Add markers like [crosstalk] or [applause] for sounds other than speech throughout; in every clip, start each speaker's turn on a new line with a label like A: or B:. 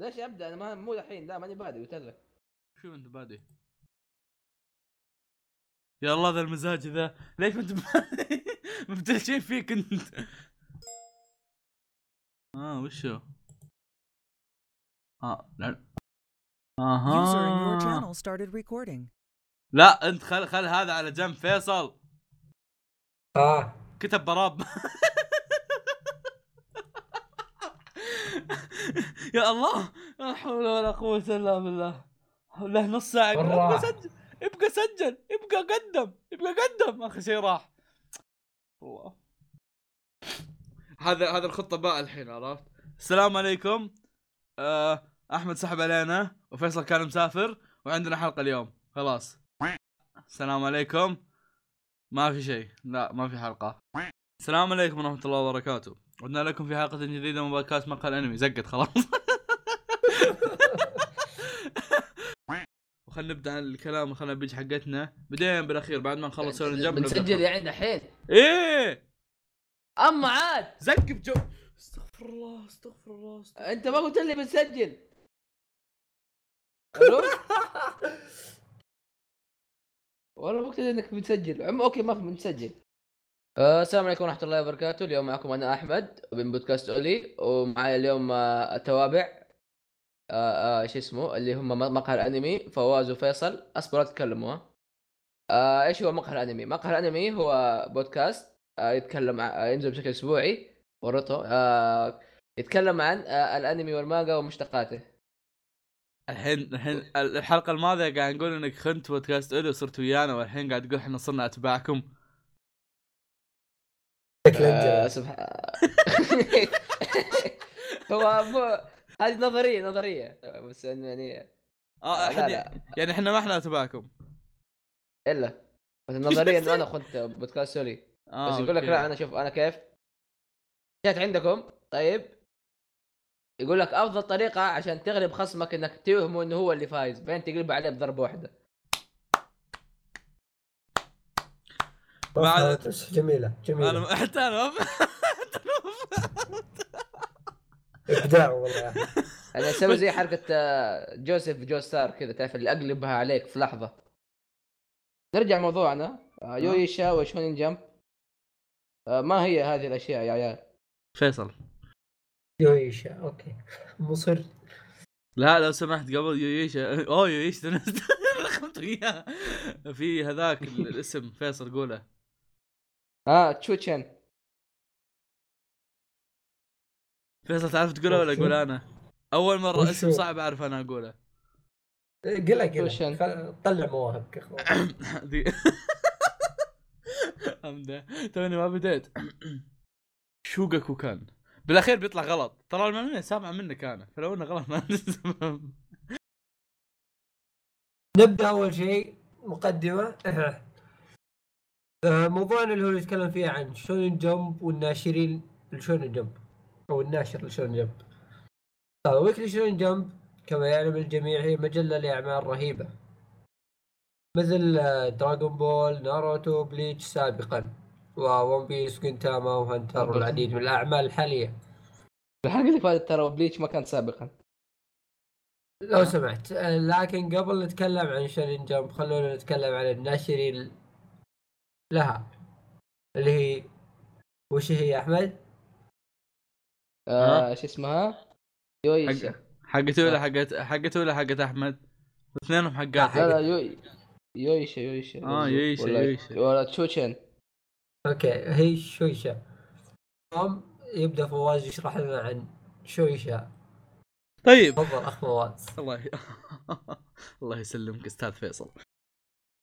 A: ليش ابدا انا ما مو الحين لا ماني بادئ قلت لك
B: شو انت بادئ يا الله ذا المزاج ذا ليش ما انت [laughs] بادئ؟ مبتلشين فيك انت اه وشو اه لا
C: User in
B: اها
C: your channel started recording.
B: لا انت خل خل هذا على جنب فيصل
D: اه
B: كتب براب يا الله لا حول ولا قوة الا بالله له نص ساعة يقول ابقى
D: بالراحة.
B: سجل ابقى سجل ابقى قدم ابقى قدم اخر شيء راح الله هذا هذا الخطة باء الحين عرفت السلام عليكم آه احمد سحب علينا وفيصل كان مسافر وعندنا حلقة اليوم خلاص السلام عليكم ما في شيء لا ما في حلقة السلام عليكم ورحمة الله وبركاته عدنا لكم في حلقة جديدة من بودكاست مقهى الانمي زقت خلاص [laughs] وخلنا نبدا عن الكلام وخلنا نبيج حقتنا بدينا بالاخير بعد ما نخلص سوينا جنب
A: بنسجل يعني الحين
B: ايه
A: اما عاد
B: زق بجو استغفر الله استغفر الله استغفر
A: انت ما قلت لي بنسجل الو [laughs] والله ما قلت لي انك بتسجل عم اوكي ما في بنسجل آه، السلام عليكم ورحمه الله وبركاته اليوم معكم انا احمد من بودكاست اولي ومعي اليوم آه، التوابع آه، آه، شو اسمه اللي هم م- مقهى الانمي فواز وفيصل اصبروا لا تتكلموا ها. آه، ايش هو مقهى الانمي؟ مقهى الانمي هو بودكاست آه، يتكلم ع- آه، ينزل بشكل اسبوعي ورته آه، يتكلم عن آه، الانمي والمانجا ومشتقاته
B: الحين الحين الحلقه الماضيه قاعد نقول انك خنت بودكاست اولي وصرت ويانا والحين قاعد تقول احنا صرنا اتباعكم
D: شكله
A: آه،
D: انجلس.
A: سبحان [laughs] هو مو هذه نظريه نظريه بس انه يعني
B: اه
A: لا
B: احد
A: لا
B: يعني احنا ما احنا اتباعكم
A: الا بس النظريه انه انا خنت بودكاست سوري
B: آه
A: بس يقول لك
B: أوكي. [laughs]
A: لا انا شوف انا كيف جات عندكم طيب يقول لك افضل طريقه عشان تغلب خصمك انك توهمه انه هو اللي فايز بعدين تقلب عليه بضربه واحده
B: ما عاد-
D: بس جميله
B: انا
D: جميله
B: ما- حتى انا ما [laughs] حتى أنا ما
D: ابداع والله يا أخي.
A: انا اسوي زي حركه آه، جوزيف جو ستار كذا تعرف اللي اقلبها عليك في لحظه نرجع موضوعنا آه، يويشا وشونين جمب آه، ما هي هذه الاشياء يا عيال
B: فيصل
D: يويشا اوكي مصر
B: لا لو سمحت قبل يويشا اوه يويشا [laughs] رقمت اياه في هذاك ال- الاسم فيصل قوله
A: اه تشوتشن
B: فيصل تعرف تقوله ولا اقول انا؟ اول مره
D: وشو؟
B: اسم صعب اعرف انا اقوله
D: قلها
A: يويشا.
D: قلها إيه، خل- طلع مواهبك يا اخوان
B: ذي امدا توني طيب ما بديت شوقك وكان بالاخير بيطلع غلط ترى المعلومه سامعه منك انا فلو انه غلط ما عندي سبب.
D: نبدا اول شيء مقدمه آه، موضوعنا اللي هو يتكلم فيه عن شونن جمب والناشرين لشونن جمب او الناشر لشونن جمب آه، ويكلي شونن جمب كما يعلم الجميع هي مجله لاعمال رهيبه مثل آه، دراغون بول ناروتو بليتش سابقا وون بيس كنتاما وهنتر والعديد من الاعمال الحاليه
A: الحلقه اللي فاتت ترى بليتش ما كان سابقا
D: لو سمحت آه، لكن قبل نتكلم عن شونين جمب خلونا نتكلم عن الناشرين لها اللي هي وش هي يا احمد؟
A: آه شو اسمها يويشا
B: حق- حقت ولا حقت حقت ولا حقت احمد اثنينهم
A: لا
B: حقات
A: لا يوي يويشا يويشا
B: آه، يويشا،
A: ولا-
B: يويشا.
A: ولا تشوتشن
D: اوكي هي شويشا هم يبدا فواز يشرح لنا عن شويشا
B: طيب
D: تفضل اخ فواز
B: الله ي... [laughs] الله يسلمك استاذ فيصل.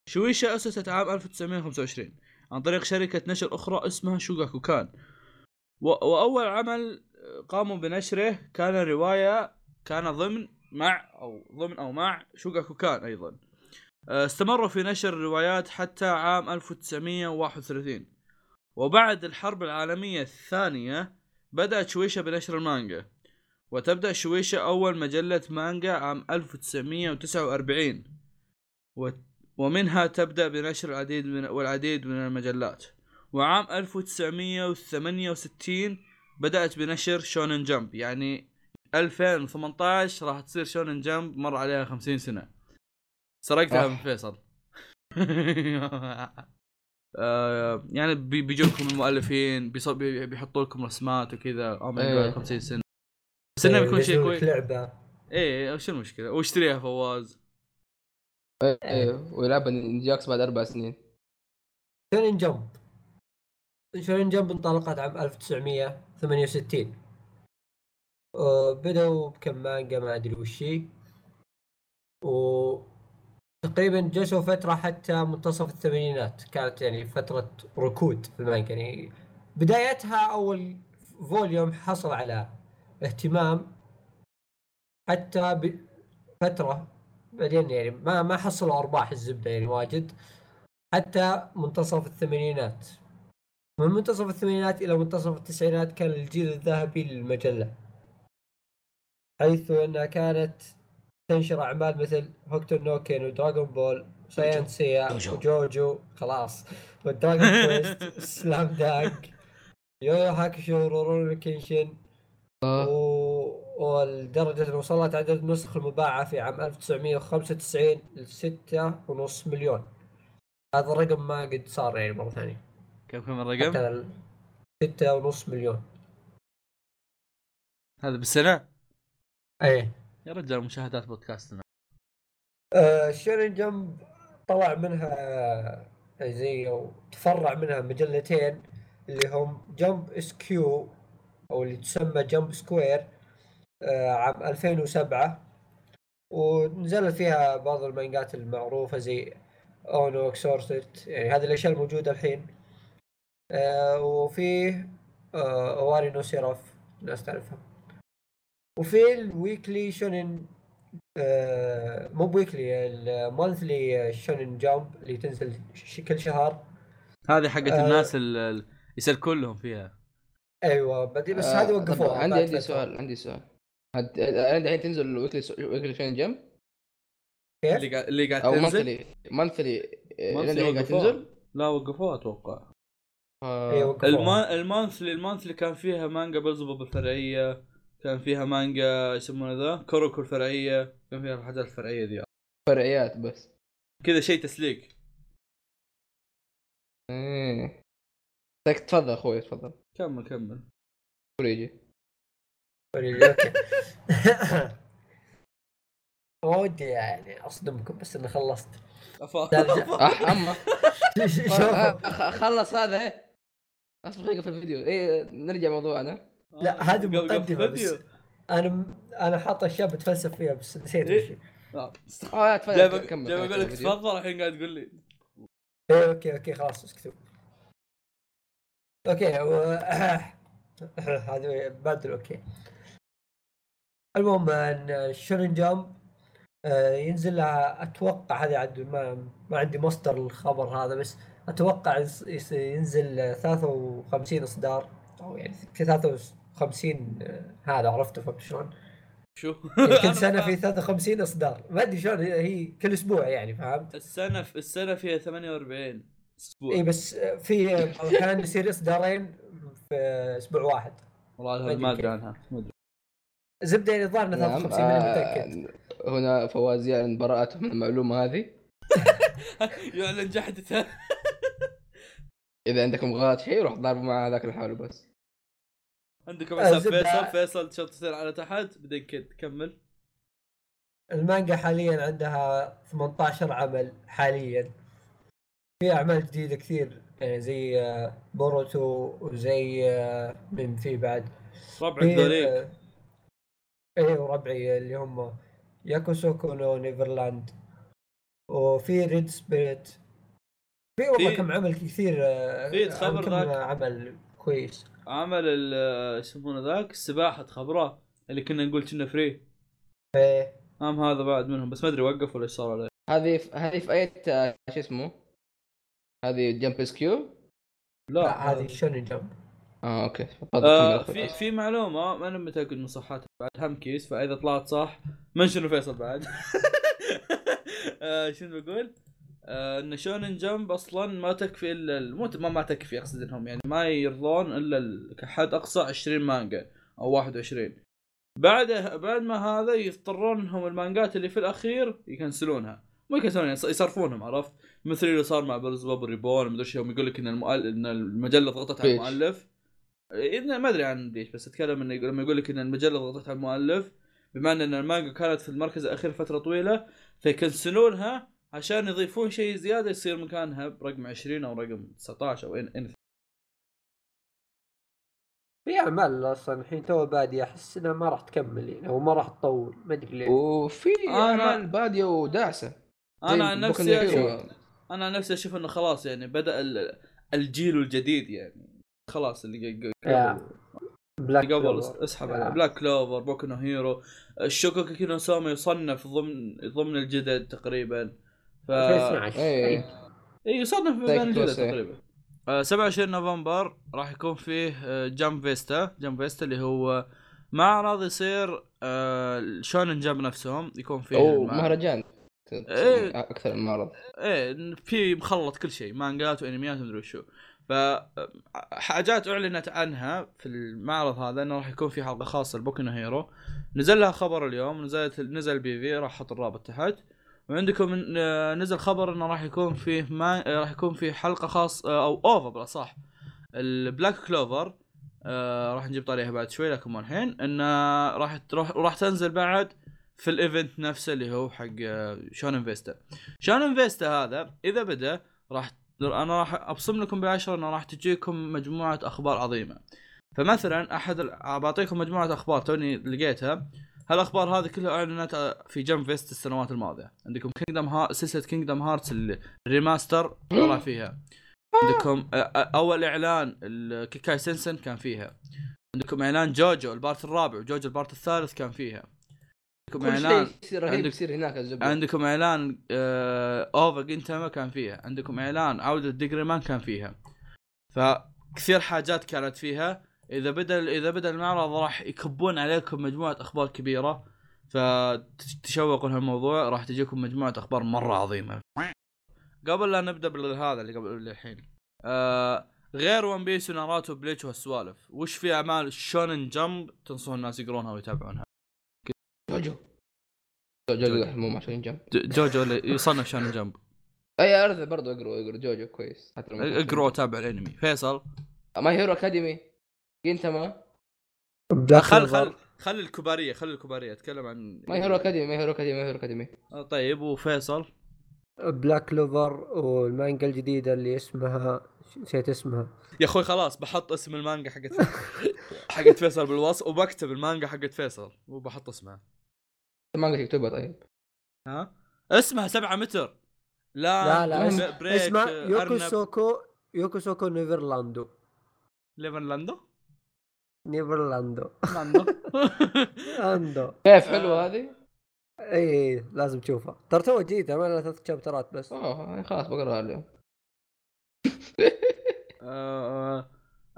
B: شويشا اسست عام 1925 عن طريق شركة نشر أخرى اسمها شوغاكو كان. و... وأول عمل قاموا بنشره كان رواية كان ضمن مع أو ضمن أو مع شوغاكو كان أيضا. آه، استمروا في نشر الروايات حتى عام 1931 وبعد الحرب العالمية الثانية بدأت شويشا بنشر المانجا وتبدأ شويشة أول مجلة مانجا عام 1949 و... ومنها تبدأ بنشر العديد من والعديد من المجلات وعام 1968 بدأت بنشر شونن جمب يعني 2018 راح تصير شونن جمب مر عليها 50 سنه سرقتها
A: آه.
B: من فيصل [laughs] آه، يعني بي- بيجوا لكم المؤلفين بيص- بي- بيحطوا لكم رسمات وكذا Oh او
A: إيه.
B: 50 سنه بس انه بيكون شيء
D: بيسوي لك
B: كويس
D: لعبه
B: ايه شو المشكله واشتريها فواز
A: ايوه ويلعبها نينجاكس بعد اربع سنين
D: شونين جمب شونين جمب انطلقت عام 1968 آه، بدأوا بكم مانجا ما أدري وش هي. و تقريبا جلسوا فترة حتى منتصف الثمانينات كانت يعني فترة ركود في المانجا يعني بدايتها أول فوليوم حصل على اهتمام حتى بفترة بعدين يعني ما ما حصلوا أرباح الزبدة يعني واجد حتى منتصف الثمانينات من منتصف الثمانينات الى منتصف التسعينات كان الجيل الذهبي للمجله حيث انها كانت تنشر اعمال مثل هوكتو نوكين ودراغون بول ساين سيا
B: جوجو.
D: وجوجو خلاص
B: [laughs]
D: والدراغون كويست سلام دانك يو يو هاكشو رورون كينشن
A: آه.
D: و... والدرجة اللي وصلت عدد النسخ المباعة في عام 1995 ل 6.5 مليون هذا الرقم ما قد صار يعني مرة ثانية
B: كم كم الرقم؟
D: حتى ال- 6.5 مليون
B: هذا بالسنه
D: ايه
B: يا رجال مشاهدات بودكاستنا
D: آه شيرين جمب طلع منها آه، زي أو تفرع منها مجلتين اللي هم جمب اس كيو او اللي تسمى جمب سكوير آه عام 2007 ونزلت فيها بعض المانجات المعروفة زي اونو اكسورسيت يعني هذه الاشياء الموجودة الحين آه وفي آه اواري نو سيراف الناس تعرفها وفي الويكلي شونن آه، مو بويكلي المونثلي شونن جامب اللي تنزل ش- كل شهر
B: هذه حقت
D: آه.
B: الناس ال- ال- يسال كلهم فيها
D: ايوه بدي بس
A: آه،
D: هذه
A: طب
D: وقفوها
A: عندي
D: بعد
A: عندي
D: فترة.
A: سؤال عندي سؤال هد- آه، الحين تنزل الويكلي ويكلي شين جم
D: إيه؟
B: اللي قاعد اللي قاعد
A: او
B: تنزل
A: مانثلي مانثلي
B: Monthly
A: الحين إيه، قاعد
B: وقفوها.
A: تنزل
B: لا وقفوها اتوقع إيه،
D: ايوه
A: آه،
D: وقفوها.
B: الما... المانثلي المانثلي كان فيها مانجا بلزبوب الفرعيه كان فيها مانجا يسمونه ذا كوروكو الفرعيه كان فيها الحاجات الفرعيه ذي
A: فرعيات بس
B: كذا شيء تسليك
A: ايه طيب، تفضل اخوي تفضل
B: كمل كمل
A: كوريجي
D: أوكي. [laughs] ما ودي يعني اصدمكم بس اني خلصت [laughs]
B: افا
D: درجة.
A: اح
B: [laughs]
A: اما
D: شوفوا
A: آه، خلص هذا ايه اصبر دقيقه في الفيديو ايه نرجع موضوعنا
D: لا، هذه
B: آه، قبل- قبل
D: مقدمة بس.
B: فيديو.
D: انا انا حاط اشياء بتفلسف فيها بس نسيت
B: إيه.
D: وش هي.
B: آه.
A: اه لا
B: جاي
A: تفضل
B: بق-
A: كمل
B: جاي
A: خلينا
B: بقول لك
A: نكمل الفيديو.
B: تفضل الحين قاعد تقول لي
D: ايه اوكي اوكي خلاص اسكتوا اوكي و... [coughs] هذا بدل اوكي المهم ان شونن جامب آه، ينزل لها اتوقع هذا عاد ما, ما عندي مصدر الخبر هذا بس اتوقع يس- يس- ينزل 53 اصدار او يعني 53 آه، هذا عرفته فهمت شلون؟
B: شو
D: يعني
B: أنا
D: كل
B: [laughs]
D: سنه
B: فاهم.
D: في 53 اصدار ما ادري شلون هي- هي كل اسبوع يعني فهمت؟
B: السنه في السنه فيها 48 اسبوع
D: اي إيه، بس في احيانا يصير اصدارين في اسبوع واحد
B: والله هذا
D: ما أدري
B: ما ادري
D: كيف.
B: عنها
D: [laughs]
B: ما أدري.
D: زبده يعني الظاهر انه 53 انا متاكد
A: نعم، آه، هنا فواز يعلن براءته من المعلومه هذه
B: يعلن [laughs] جحدته
A: اذا عندكم غلط شيء روح ضاربوا مع هذاك اللي حوله بس
B: عندكم حساب
D: الزبدة.
B: فيصل فيصل تشطر على تحت بعدين كد كمل
D: المانجا حاليا عندها 18 عمل حاليا في اعمال جديده كثير يعني زي آه، بوروتو وزي آه، من في بعد
B: ربع
D: في
B: ذوليك
D: آه، ايه وربعي اللي هم ياكوسوكو نو نيفرلاند وفي ريد سبيريت في والله
B: في-
D: كم عمل كثير آه،
B: في تخبر
D: كم
B: ذاك.
D: عمل كويس
B: عمل ال- يسمونه ذاك السباحه تخبراه اللي كنا نقول كنا فري
D: ايه
B: هم هذا بعد منهم بس ما ادري وقف ولا ايش صار عليه
A: هذه في- هذه في اي آه، شو اسمه هذه جمب اس كيو
D: لا هذه
B: آه،
D: شونن جمب
A: اه اوكي تفضل
B: آه
A: كمل
B: في
A: يا أخوي.
B: في معلومه ما انا متاكد من صحتها بعد هم كيس فاذا طلعت صح منشن فيصل بعد [laughs] آه شنو بقول؟ آه ان شونن جمب اصلا ما تكفي الا ال- مو ما, ما تكفي اقصد انهم يعني ما يرضون الا ال- كحد اقصى 20 مانجا او 21 بعده بعد ما هذا يضطرون انهم المانجات اللي في الاخير يكنسلونها مو يكنسلونها يص- يصرفونهم عرفت مثل اللي صار مع بيرز باب ريبون مدري ايش يوم يقول لك ان المؤل... ان المجله ضغطت على
A: بليتش.
B: المؤلف إذن ما ادري عن بليش بس اتكلم انه يقول- لما يقول لك ان المجله ضغطت على المؤلف بما ان المانجا كانت في المركز الاخير فتره طويله فيكنسلونها عشان يضيفون شيء زياده يصير مكانها برقم 20 او رقم 19 او ان
D: في اعمال اصلا الحين تو باديه احس انها ما راح تكمل يعني او ما راح تطول ما ادري ليه
A: وفي
B: أنا-
A: اعمال باديه وداعسه
B: انا عن
A: زي
B: نفسي
A: Boku no Hero.
B: اشوف انا عن نفسي اشوف انه خلاص يعني بدا ال- الجيل الجديد يعني خلاص اللي ق- ق-
D: يا. بلاك
B: اللي قبل
D: كلوفر.
B: اسحب
D: يا.
B: عليه بلاك كلوفر بوكو نو هيرو الشوكوكي كينو سوما يصنف ضمن ضمن الجدد تقريبا ف
D: 2012
A: ايه
B: اي يصنف ضمن
A: Thank you,
B: الجدد
A: sir.
B: تقريبا آه، 27 نوفمبر راح يكون فيه آه، جام فيستا جام فيستا اللي هو معرض يصير آه، شونن جام نفسهم يكون فيه
A: او
B: المعرض.
A: مهرجان
B: إيه.
A: اكثر من معرض
B: ايه في مخلط كل شيء مانجات وانميات ومدري وشو ف حاجات اعلنت عنها في المعرض هذا انه راح يكون في حلقه خاصه لبوكو نو هيرو نزل لها خبر اليوم نزلت نزل بي في راح احط الرابط تحت وعندكم من- آه، نزل خبر انه راح يكون فيه ما آه، راح يكون في حلقه خاص آه، او اوفا بالاصح البلاك كلوفر آه، راح نجيب طاريها بعد شوي لكن مو الحين انه راح تروح راح تنزل بعد في الايفنت نفسه اللي هو حق آه، شونن فيستا شانون فيستا هذا اذا بدا راح انا راح ابصم لكم بالعشره انه راح تجيكم مجموعه اخبار عظيمه فمثلا احد ال- بعطيكم مجموعه اخبار توني لقيتها هالاخبار هذه كلها اعلنت في جم فيست السنوات الماضيه عندكم كينجدم ها... سلسله كينجدم هارتس الريماستر طلع فيها عندكم آه، أ- أ- اول اعلان الكيكاي سنسن كان فيها عندكم اعلان جوجو البارت الرابع وجوجو البارت الثالث كان فيها عندكم
A: كل
B: اعلان
A: شيء يصير رهيب
B: نعم. عندك-
A: يصير هناك الزبده
B: عندكم اعلان آه اوفا جنتاما كان فيها عندكم اعلان عوده ديجري مان كان فيها فكثير حاجات كانت فيها اذا بدا اذا بدا المعرض راح يكبون عليكم مجموعه اخبار كبيره فتشوقوا لهالموضوع راح تجيكم مجموعه اخبار مره عظيمه قبل لا نبدا بالهذا اللي قبل الحين آه غير ون بيس وناروتو وبليتش والسوالف وش في اعمال شونن جمب تنصحون الناس يقرونها ويتابعونها
A: جوجو جوجو
B: جوجو.
A: مو مع شونين جمب
B: ج- جوجو اللي يصنف شونن جمب
A: اي ارث برضو اقروا اقروا جوجو كويس آه، حتى لو ما كان
B: اقرا وتابع الانمي فيصل
A: ما هيرو اكاديمي جنتما
D: بلاك
B: خل
D: كلوفر.
B: خل خل الكباريه خل الكباريه اتكلم عن
A: ما هيرو اكاديمي ما هيرو اكاديمي ما هيرو اكاديمي
B: آه، طيب وفيصل
D: بلاك كلوفر والمانجا الجديده آه، اللي اسمها نسيت اسمها
B: يا اخوي خلاص بحط اسم المانجا
D: [laughs]
B: حقت حقت فيصل بالوصف وبكتب المانجا حقت فيصل وبحط اسمها
A: ما قلت يكتبها طيب
B: ها اسمها سبعة متر لا
D: لا لا اسم-
B: م- بريك
D: اسمها
B: آه،
D: يوكو
B: أرنب.
D: سوكو يوكو سوكو نيفرلاندو
B: ليفنلاندو
D: نيفرلاندو
B: لاندو [laughs] آه،
D: اندو
A: كيف حلوه هذه؟
D: اي لازم تشوفها ترى تو جديده ما لها ثلاث شابترات بس
A: اوه آه، يعني خلاص بقراها اليوم
B: آه، آه،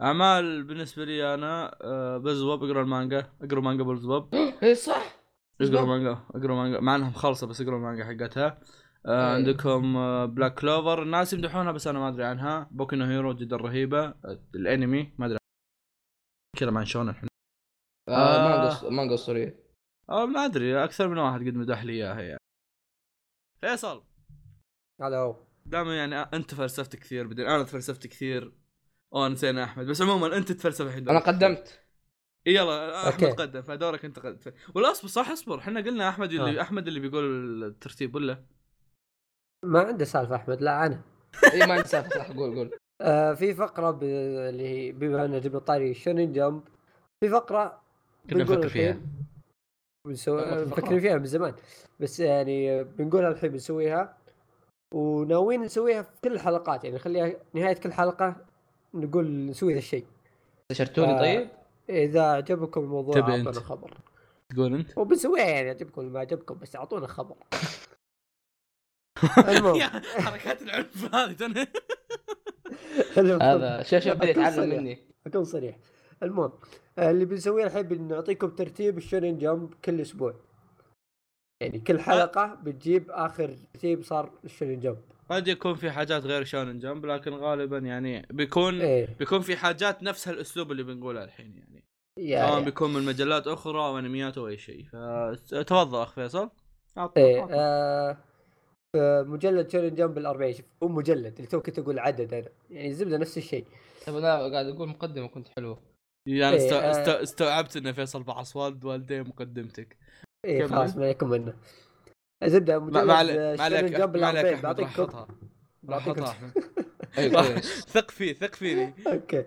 B: اعمال بالنسبه لي انا آه، بزوب اقرا المانجا اقرا مانجا بزوب
A: اي إيه، صح
B: اقروا مانجا اقروا مانجا مع انها مخلصه بس اقروا المانجا حقتها آه
A: أي.
B: عندكم آه بلاك كلوفر الناس يمدحونها بس انا ما ادري عنها بوكو نو هيرو جدا رهيبه آه الانمي ما ادري كذا مع شون الحين
A: آه،
B: آه.
A: مانجا الص- مانجا السوريه
B: آه ما ادري اكثر من واحد قد مدح لي اياها يعني فيصل
D: على هو
B: دام يعني انت فلسفت كثير بعدين انا تفلسفت كثير اوه نسينا احمد بس عموما انت تتفلسف الحين
A: انا قدمت
B: إيه يلا احمد
D: أوكي.
B: قدم فدورك انت قدم ولا اصبر صح اصبر احنا قلنا احمد اللي
D: آه.
B: احمد اللي بيقول الترتيب ولا
D: ما عنده سالفه احمد لا انا
A: اي إيه، ما نسافر صح قول قول
D: آه في فقره ب... اللي هي بما ان جبنا طاري شونين جمب في فقره
B: كنا
D: بنقول
B: نفكر فيها.
D: الحين بنسو...
A: فقرة الفقرات.
D: مفكرين فيها من زمان بس يعني بنقولها الحين بنسويها وناويين نسويها في كل الحلقات يعني نخليها نهايه كل حلقه نقول نسوي ذا الشيء
A: استشرتوني
D: آه.
A: طيب؟
D: اذا عجبكم الموضوع
B: تبي أنت.
D: اعطونا خبر
B: تقول انت
D: وبنسويها يعني عجبكم ولا ما عجبكم بس اعطونا
B: [laughs]
D: خبر المهم
B: يا حركات العنف هذه تن- [laughs]
D: المهم.
A: هذا شوف شوف بدي يتعلم
D: صريح.
A: مني
D: اكون صريح المهم آه، اللي بنسويه الحين بنعطيكم ترتيب الشونين جمب كل اسبوع يعني
B: أه.
D: كل حلقه بتجيب اخر ترتيب صار الشونين جمب
B: قد يكون في حاجات غير شونن جمب لكن غالبا يعني بيكون
D: ايه
B: بيكون في حاجات نفس هالاسلوب اللي بنقوله الحين يعني
D: يا
B: سواء
D: يا.
B: بيكون من مجلات اخرى او انميات او اي شيء فتفضل اخ فيصل أعطنا-
D: ايه
B: أعطنا.
D: آه آه، مجلد شونن جمب ال 40 شوف مو مجلد اللي تو كنت اقول عدد انا يعني الزبده نفس الشيء
A: طب انا طيب قاعد اقول مقدمه كنت حلوه
B: [laughs] يعني است...
D: إيه،
B: است...
D: آه.
B: استوعبت ان فيصل بعص والد والدي مقدمتك
D: ايه
B: كمل.
D: خلاص ما عليكم منه الزبده
B: ما
D: مجلد
B: ما عليك
D: آه،
B: ما عليك
D: شونن جنب
B: ما
D: ال
B: عليك
D: 40
B: احمد
D: بعطيك
B: راح
D: كود
B: احطها راح
D: بعطيك
B: احطها
D: كود.
B: احمد [laughs]
A: ايوه كويس
B: ثق فيه ثق فيني
D: اوكي
A: من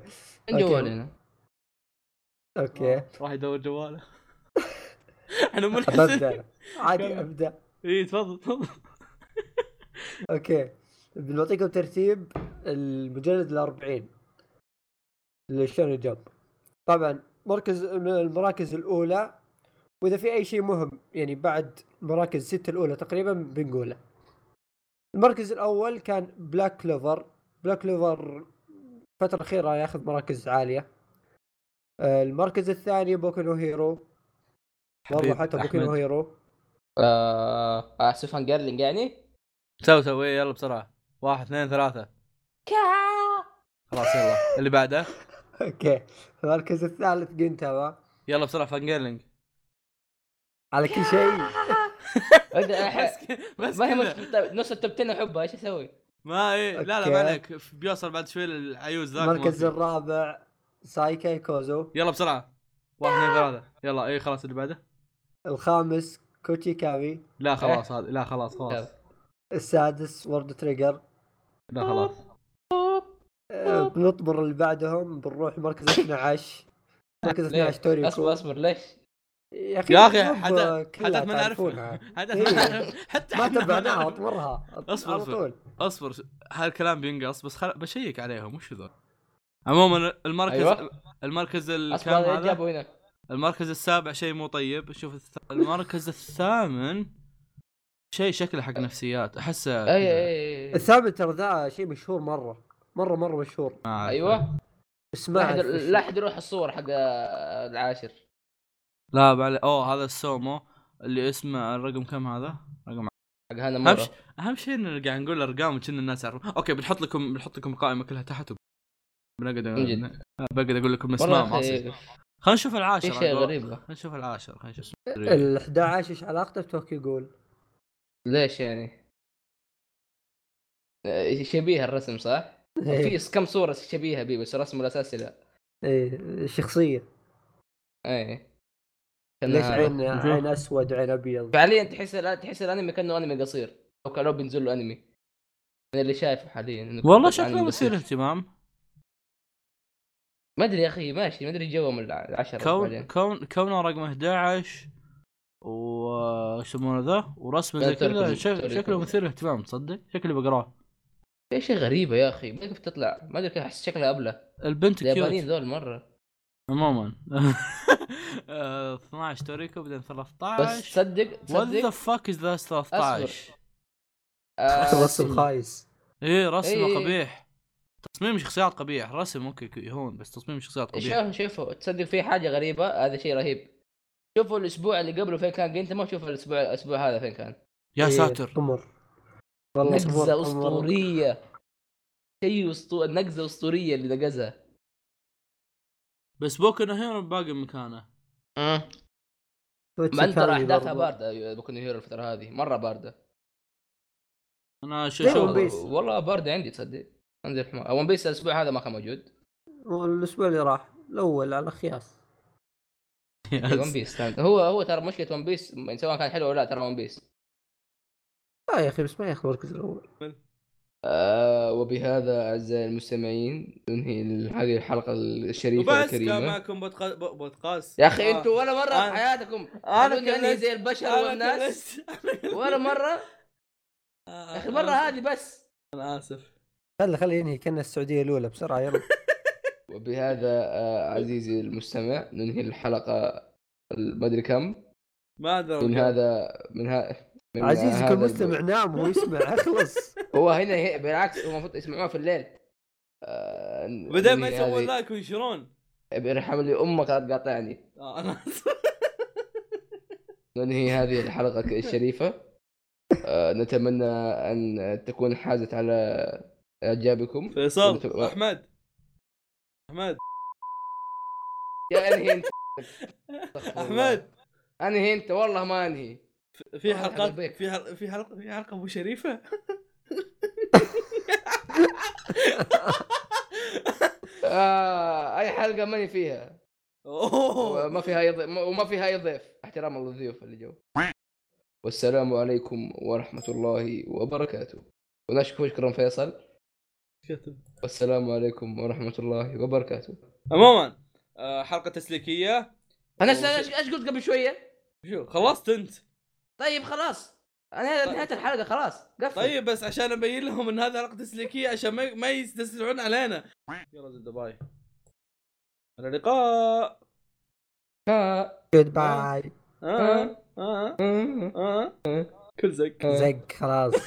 D: أوكي.
A: جوالنا
D: اوكي
B: [laughs] راح يدور جواله احنا
D: ببدا
B: منحسن
D: أنا. عادي
B: كمل.
D: ابدا
B: اي إيه، تفضل تفضل
D: اوكي بنعطيكم ترتيب المجلد ال 40 للشونن جمب طبعا مركز من المراكز الاولى واذا في اي شيء مهم يعني بعد مراكز ستة الاولى تقريبا بنقوله المركز الاول كان بلاك كلوفر بلاك كلوفر الفترة الأخيرة ياخذ مراكز عالية آه، المركز الثاني بوكو نو هيرو برضو
B: حبيب
D: حتى بوكو نو
B: أحمد.
D: [laughs] هيرو
A: آه، آه، سيفان جيرلينج يعني
B: سو سو إيه، يلا بسرعه واحد اثنين ثلاثه خلاص يلا اللي بعده
D: اوكي المركز الثالث جنتاما
B: يلا بسرعه
A: [laughs]
B: فانجيرلينج
D: على كل شيء
A: أبدأ
B: بس
A: أح-
B: ك- بس
A: ما هي
B: كذا
A: مشكلة طيب، نص التوب 10 احبها ايش اسوي؟
B: ما ايه لا لا ما
D: أوكي.
B: عليك ف- بيوصل بعد شوي للعيوز ذاك ما
D: المركز
B: في.
D: الرابع سايكاي كوزو
B: يلا بسرعه واحد اثنين ثلاثه يلا ايه خلاص اللي بعده
D: الخامس كوتشي كامي
B: لا خلاص هذا لا خلاص خلاص
D: السادس وورد تريجر
B: لا خلاص
D: آه، بنطبر اللي بعدهم بنروح مركز 12 مركز
A: طيب،
D: 12 توريكو
A: اصبر اصبر ليش؟
D: يا
B: يا أخي،
D: الكلوب
B: حدا-
D: كلها
B: حدث ما نعرف [laughs]
D: تعرفونها.
B: حدث
D: إيه.
B: ما نعرف حتى
D: ما
B: إحنا
D: تبعناها
B: نعرف.
D: اطمرها
B: أصبر،
D: على
B: أصبر.
D: طول
B: اصبر ش- هالكلام بينقص بس خل... بشيك عليهم وش ذول عموما المركز
A: أيوة.
B: المركز
A: اصبر
B: الكام
A: إيه
B: هذا
A: جابوا هنا
B: المركز السابع شيء مو طيب شوف الث... المركز الثامن شيء شكله حق نفسيات احسه
A: اي اي اي
D: الثامن ترى ذا شيء مشهور مره مره مره مشهور
A: ايوه لا
D: اسمع
A: احد لا احد يروح الصور حق آه، العاشر
B: لا بعلي اوه هذا السومو اللي اسمه الرقم كم هذا؟ رقم
A: حق هانا
B: اهم
A: مورا
B: شيء اهم شيء اننا قاعد نقول ارقام وكنا الناس يعرفون اوكي بنحط لكم بنحط لكم القائمه كلها تحت وب- بنقعد
A: من جد.
B: بقعد اقول لكم
A: والله
B: اسماء ما
A: يا
B: أصير.
A: أخي،
B: خلينا نشوف
A: في
B: العاشر
A: شيء
B: عاد.
A: غريب له.
B: خلينا نشوف العاشر خلينا نشوف
D: ال 11 ايش علاقته بتوكيو جول؟
A: ليش يعني؟ آه، شبيه الرسم صح؟
D: إيه،
B: إيه.
A: في كم صورة شبيهة بيه بس رسمه الاساسي لا
D: ايه شخصيه
A: اي إيه. كان
D: ليش
A: هذا.
D: عين عين اسود وعين ابيض
A: فعليا تحس الآن- تحس الانمي كانه انمي قصير او كانوا بينزل له انمي من اللي شايفه حاليا إنه
B: والله
A: أنمي
B: شكله مثير
A: قصير.
B: اهتمام
A: ما ادري يا اخي ماشي ما ادري جوهم العشرة
B: كون
A: بعدين.
B: كون كونه رقم 11 و ايش يسمونه ذا ورسمه زي
A: لا تركز،
B: كذا شك-
A: تركز.
B: شكله مثير اهتمام تصدق شكلي بقراه
A: في شيء غريبة يا اخي ما ادري كيف تطلع ما ادري كيف احس شكلها ابله
B: البنت
A: اليابانيين
B: كيوت
A: ذول مرة
B: عموما آه، 12 توريكو بعدين 13
A: بس تصدق
B: وات ذا
A: تصدق
B: فاك از ذا 13
A: آه،
D: رسم خايس
B: ايه
A: إيه.
B: رسمه قبيح تصميم شخصيات قبيح رسم اوكي كي- هون بس تصميم شخصيات قبيح
A: شوفوا شوفوا آه، تصدق في حاجة غريبة هذا شيء رهيب شوفوا الاسبوع اللي قبله فين كان انت ما شوف الاسبوع الاسبوع هذا فين كان
B: يا
D: إيه،
B: ساتر
D: قمر والله قمر،
A: نقزة
D: قمر.
A: اسطورية شيء اسطو نقزة اسطورية اللي نقزها
B: بس بوكو إنه هيرو باقي مكانه آه.
D: توتشي
A: مع ان ترى
D: كامي
A: احداثها
D: برضو.
A: بارده بوكو نو هيرو الفتره هذه مره بارده
B: انا شو
D: إيه،
B: شو
D: One Piece.
A: والله بارده عندي تصدق انزل حمار ون بيس الاسبوع هذا ما كان
B: [laughs]
A: موجود
D: الاسبوع اللي راح الاول على خياس
A: ون بيس هو هو ترى مشكله ون بيس سواء كان حلو ولا لا ترى ون بيس
D: لا آه يا اخي بس ما ياخذ المركز الاول
A: آه وبهذا اعزائي المستمعين ننهي ال- هذه الحلقه الشريفه
B: وبس كان
A: الكريمه
B: معكم بودقا- ب- بودكاست
A: يا اخي
B: آه.
A: انتوا ولا مره
B: أنا-
A: في حياتكم
B: أنا
A: تقولون يعني
B: كلست-
A: زي البشر
B: أنا
A: والناس
B: كلست- أنا كلست.
A: ولا مره
B: آه،
A: يا اخي
B: أنا
A: المره
B: آسف.
A: هذه بس
B: انا اسف
D: خلي خلي يعني ينهي كنا السعوديه الاولى بسرعه يلا
A: وبهذا آه عزيزي المستمع ننهي الحلقه ما ادري كم
B: ما ادري
A: من هذا من ها من
D: عزيزك
A: هذا
D: المستمع نام وهو يسمع اخلص
A: هو هنا هي بالعكس هو المفروض يسمعوها في الليل آه
B: بعدين ما
A: هذه-
B: يسوون لايك وينشرون
A: ارحم لي امك لا تقاطعني
B: آه، انا اسف
A: [laughs] ننهي هذه الحلقه
B: [laughs]
A: الشريفه آه نتمنى ان تكون حازت على اعجابكم أه.
B: فيصل
A: وأنتم-
B: احمد احمد [laughs]
A: يا انهي انت أستغفر الله.
B: احمد
A: انهي انت والله ما انهي
B: في
A: الله يرحم
B: حلقات
A: أبيك.
B: في حلقة في حلقة في حلقة ابو شريفة [laughs]
A: آه اي حلقه ماني فيها
B: اوه
A: أه، ما فيها اي ضيف وما فيها اي ضيف احتراما للضيوف اللي جو والسلام عليكم ورحمه الله وبركاته ونشكر شكرا فيصل
B: كتب.
A: والسلام عليكم ورحمه الله وبركاته
B: عموما آه، حلقة تسليكية
A: انا س- ايش إيش قلت قبل شويه
B: شو خلصت انت
A: طيب خلاص انا
B: طيب.
A: نهايه الحلقه خلاص قفل
B: طيب بس عشان ابين لهم ان هذه حلقة تسليكية عشان ما ما يستسلمون علينا يلا زد باي الى اللقاء
A: آه.
E: جود باي
B: آه. آه. آه. كل زق
E: زق خلاص